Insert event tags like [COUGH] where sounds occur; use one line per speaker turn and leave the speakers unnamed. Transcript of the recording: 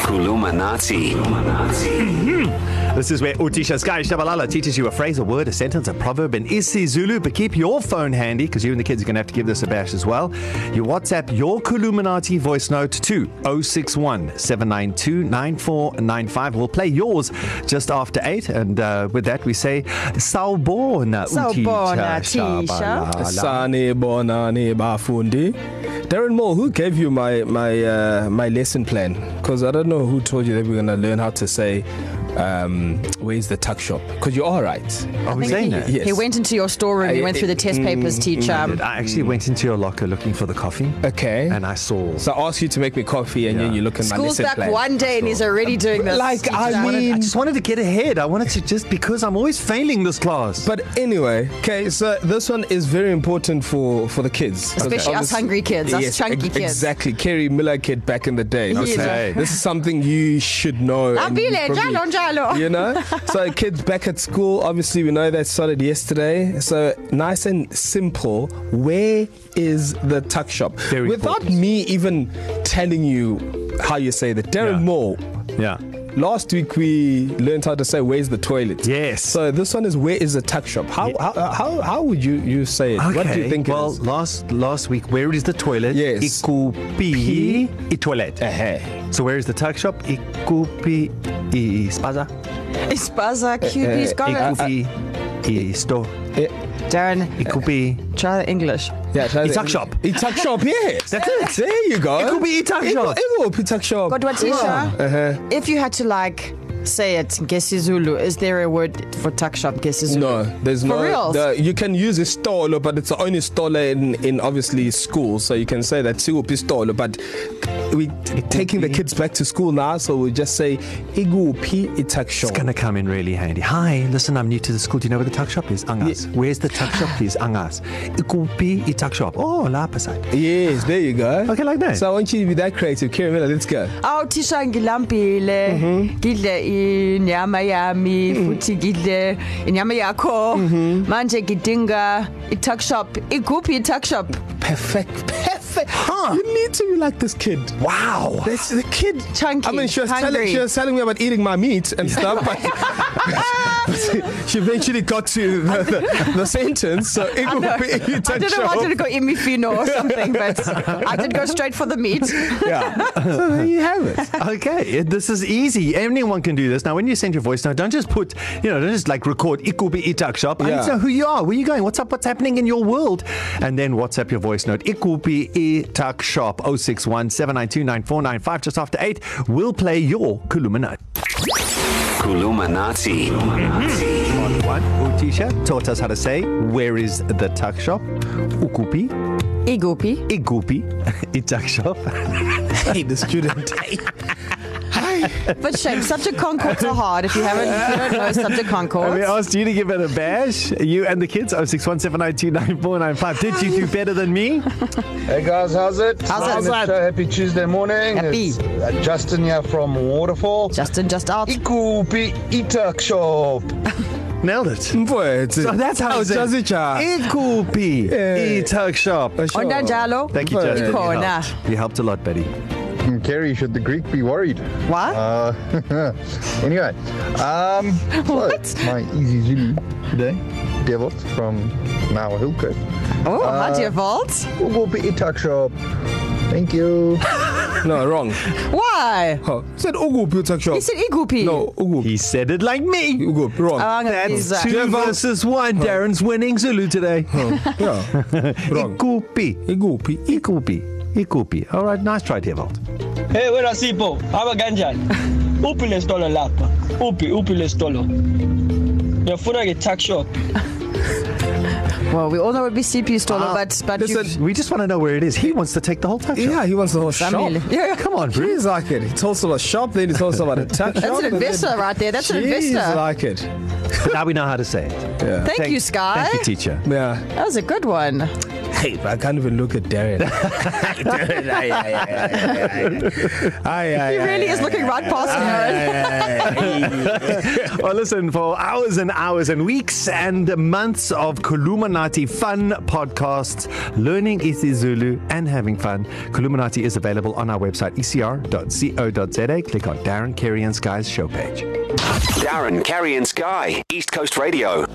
Kulumanati.
This is where Utisha Sky Shabalala teaches you a phrase, a word, a sentence, a proverb in isiZulu. But keep your phone handy because you and the kids are going to have to give this a bash as well. You WhatsApp your Kuluminati voice note to 061 792 9495. We'll play yours just after 8. And uh, with that, we say, Sawbona
Sawubona,
Utisha
Tisha.
Shabalala.
Sane bonani bafundi. Darren Moore, who gave you my my uh, my lesson plan? Because I don't know who told you that we're gonna learn how to say um, where's the tuck shop. Because you are right.
Are Oh, we saying that?
he,
Yes.
he went into your storeroom. He
I- Mm,
went through the test papers, teacher.
I actually went into your locker looking for the coffee
Okay.
and I saw.
So I asked you to make me coffee, and yeah. then you look at my
School's
lesson
back
plan.
one day and he's already doing this.
Like,
teacher.
I mean-
I just wanted to get ahead. I wanted to just because I'm always failing this class.
But anyway, okay, so this one is very important for for the kids,
Especially us hungry kids, us chunky kids.
ex- Exactly, Kerry Miller kid back in the day. This,
Okay.
is, this is something you should know. and you
Abile,
probably-
njalo, njalo.
[LAUGHS]
You know, so kids back at school. Obviously, we know that started yesterday. So nice and simple. Where is the tuck shop?
Very
Without
important.
me even telling you how you say that, Darren yeah.
Yeah.
Moore.
yeah.
Last week we learned how to say where's the toilet.
Yes.
So this one is where is the tuck shop? How yeah. how, how how would you you say it?
Okay.
What do you think
Well,
it is?
last last week, where is the toilet?
Yes.
Ikupi i toilet.
Uh-huh.
So where is the tuck shop? Ikupi i spaza.
Uh,
Ispaza, QB's got it.
Ikupi i sto.
Darren,
eh,
Ikupi.
try English.
Yeah, try
It's
the-
tuck shop.
It's tuck shop, yeah.
[LAUGHS] That's it.
There you go.
It could be tuck
It-
shop.
It will be tuck shop.
Godwa Tisha, uh-huh. if you had to like say it, Gesizulu, is there a word for tuck shop Gesizulu?
No, there's
For
no.
reals?
The, you can use a stolo, but it's the only stolo in, in obviously school, so you can say that siwuphi stolo. But we taking the kids back to school now, so we just say iguphi itak shop.
It's going to come in really handy. Hi, listen, I'm new to the school. Do you know where the tuck shop is? Angas. Yeah. Where's the tuck shop, please? Angas. Ikupi i tuck shop. Oh, la pasai.
Yes, there you go.
Okay, like that.
So I want you to be that creative. Kieran Miller, let's go.
Aw Tisha ngilambile Oh,
Mm-hmm.
ngidle inyama yami futhi ngidle inyama yakho
Mm-hmm.
manje ngidinga i-tuck shop ikuphi i-tuck shop
Perfect. Perfect. Huh. You need to be like this kid.
Wow.
This, the kid.
Chunky,
I mean, she was, telling,
hungry.
she was telling me about eating my meat and stuff, but, but [LAUGHS] she eventually got to the, the, the sentence. So it would be
I
eating
didn't
show.
want to go imifino or something but I did go straight for the meat
Yeah.
[LAUGHS]
so there you have it.
Okay, this is easy. Anyone can do this. Now, when you send your voice note, don't just put, you know, don't just like record Ikubi Itak Shop. Yeah. I need
Yeah.
to know who you are, where you going, what's up, what's happening in your world. And then WhatsApp your voice note, Ikubi Itak Shop, 061 792 9495, just after 8. We'll play your Kulumanat.
Kulumanati.
One, Utisha taught us how to say, where is the tuck shop? Ukupi,
iguphi
Igupi, [LAUGHS] Itak Shop.
Hey, the [LAUGHS] student.
but shame subject concords are hard if you haven't if you don't know subject
And we
concords
asked you to give it a bash, you and the kids, 061 792 9495. Did you do better than me?
Hey guys, how's it?
How's it?
It's so happy Tuesday morning.
Happy.
It's uh, Justin here from Waterfall.
Justin just out
Ikupi Itak Shop.
Nailed
[LAUGHS]
it.
Boy, it's
So that's how it's Eh,
does Oh, it, Oh, cha.
Ikupi
Yeah.
e-tuck shop.
onda njalo
Thank you, Justin. You
Ikhona.
helped. you helped a lot, Betty.
Hmm, Kerry, should the Greek be worried?
what
Uh, [LAUGHS] anyway, um,
[LAUGHS] What?
So my easy Zulu today, Devils from Nawa Hillcoast.
oh uh, how do you vault
We'll go to Itak Shop. Thank you.
[LAUGHS]
No, wrong.
why
Oh, said Ugupi Tuck Shop.
he said iguphi
No, Ugupi.
He said it like me.
Ugupi. Wrong.
Oh, I'm gonna use
That's
that.
two
Devil.
versus one. Darren's winning Zulu today.
[LAUGHS]
yeah. Wrong.
Ikupi.
Ugupi.
Ikupi. Ikupi. All right, nice try, Devold.
Hey, wena Sipho, hamba kanjani? Uphi le stolo lapha? Uphi, uphi le stolo? Ngiyafuna ke tuck shop.
well we all know it would be cpu stolen
Ah,
uh, but but [LAUGHS]
listen,
you,
We just want to know where it is. He wants to take the whole tuck shop.
Yeah, he wants the
[LAUGHS]
whole shop.
Samile.
Yeah, yeah, come on, Bruce.
He's like it. He told us about shop, then he told us about a tuck shop.
that's an
and then-
investor right there that's an
Jeez,
investor
like it.
But now we know how to say it.
Yeah.
Thank you, Sky.
Thank you, teacher.
Yeah.
That was a good one.
Hey, I can't even look at Darren. Darren, aye, aye, aye, aye, aye, aye.
[LAUGHS]
Aye, aye,
He really
aye,
is looking right past
aye,
Aaron.
aye, aye, aye.
[LAUGHS] Well, listen, for hours and hours and weeks and months of Kuluminati fun podcasts, learning isiZulu and having fun, Kuluminati is available on our website, E ecr.co.za. Click on Darren Carey and Sky's show page.
Darren, Carrie, and Sky, East Coast Radio.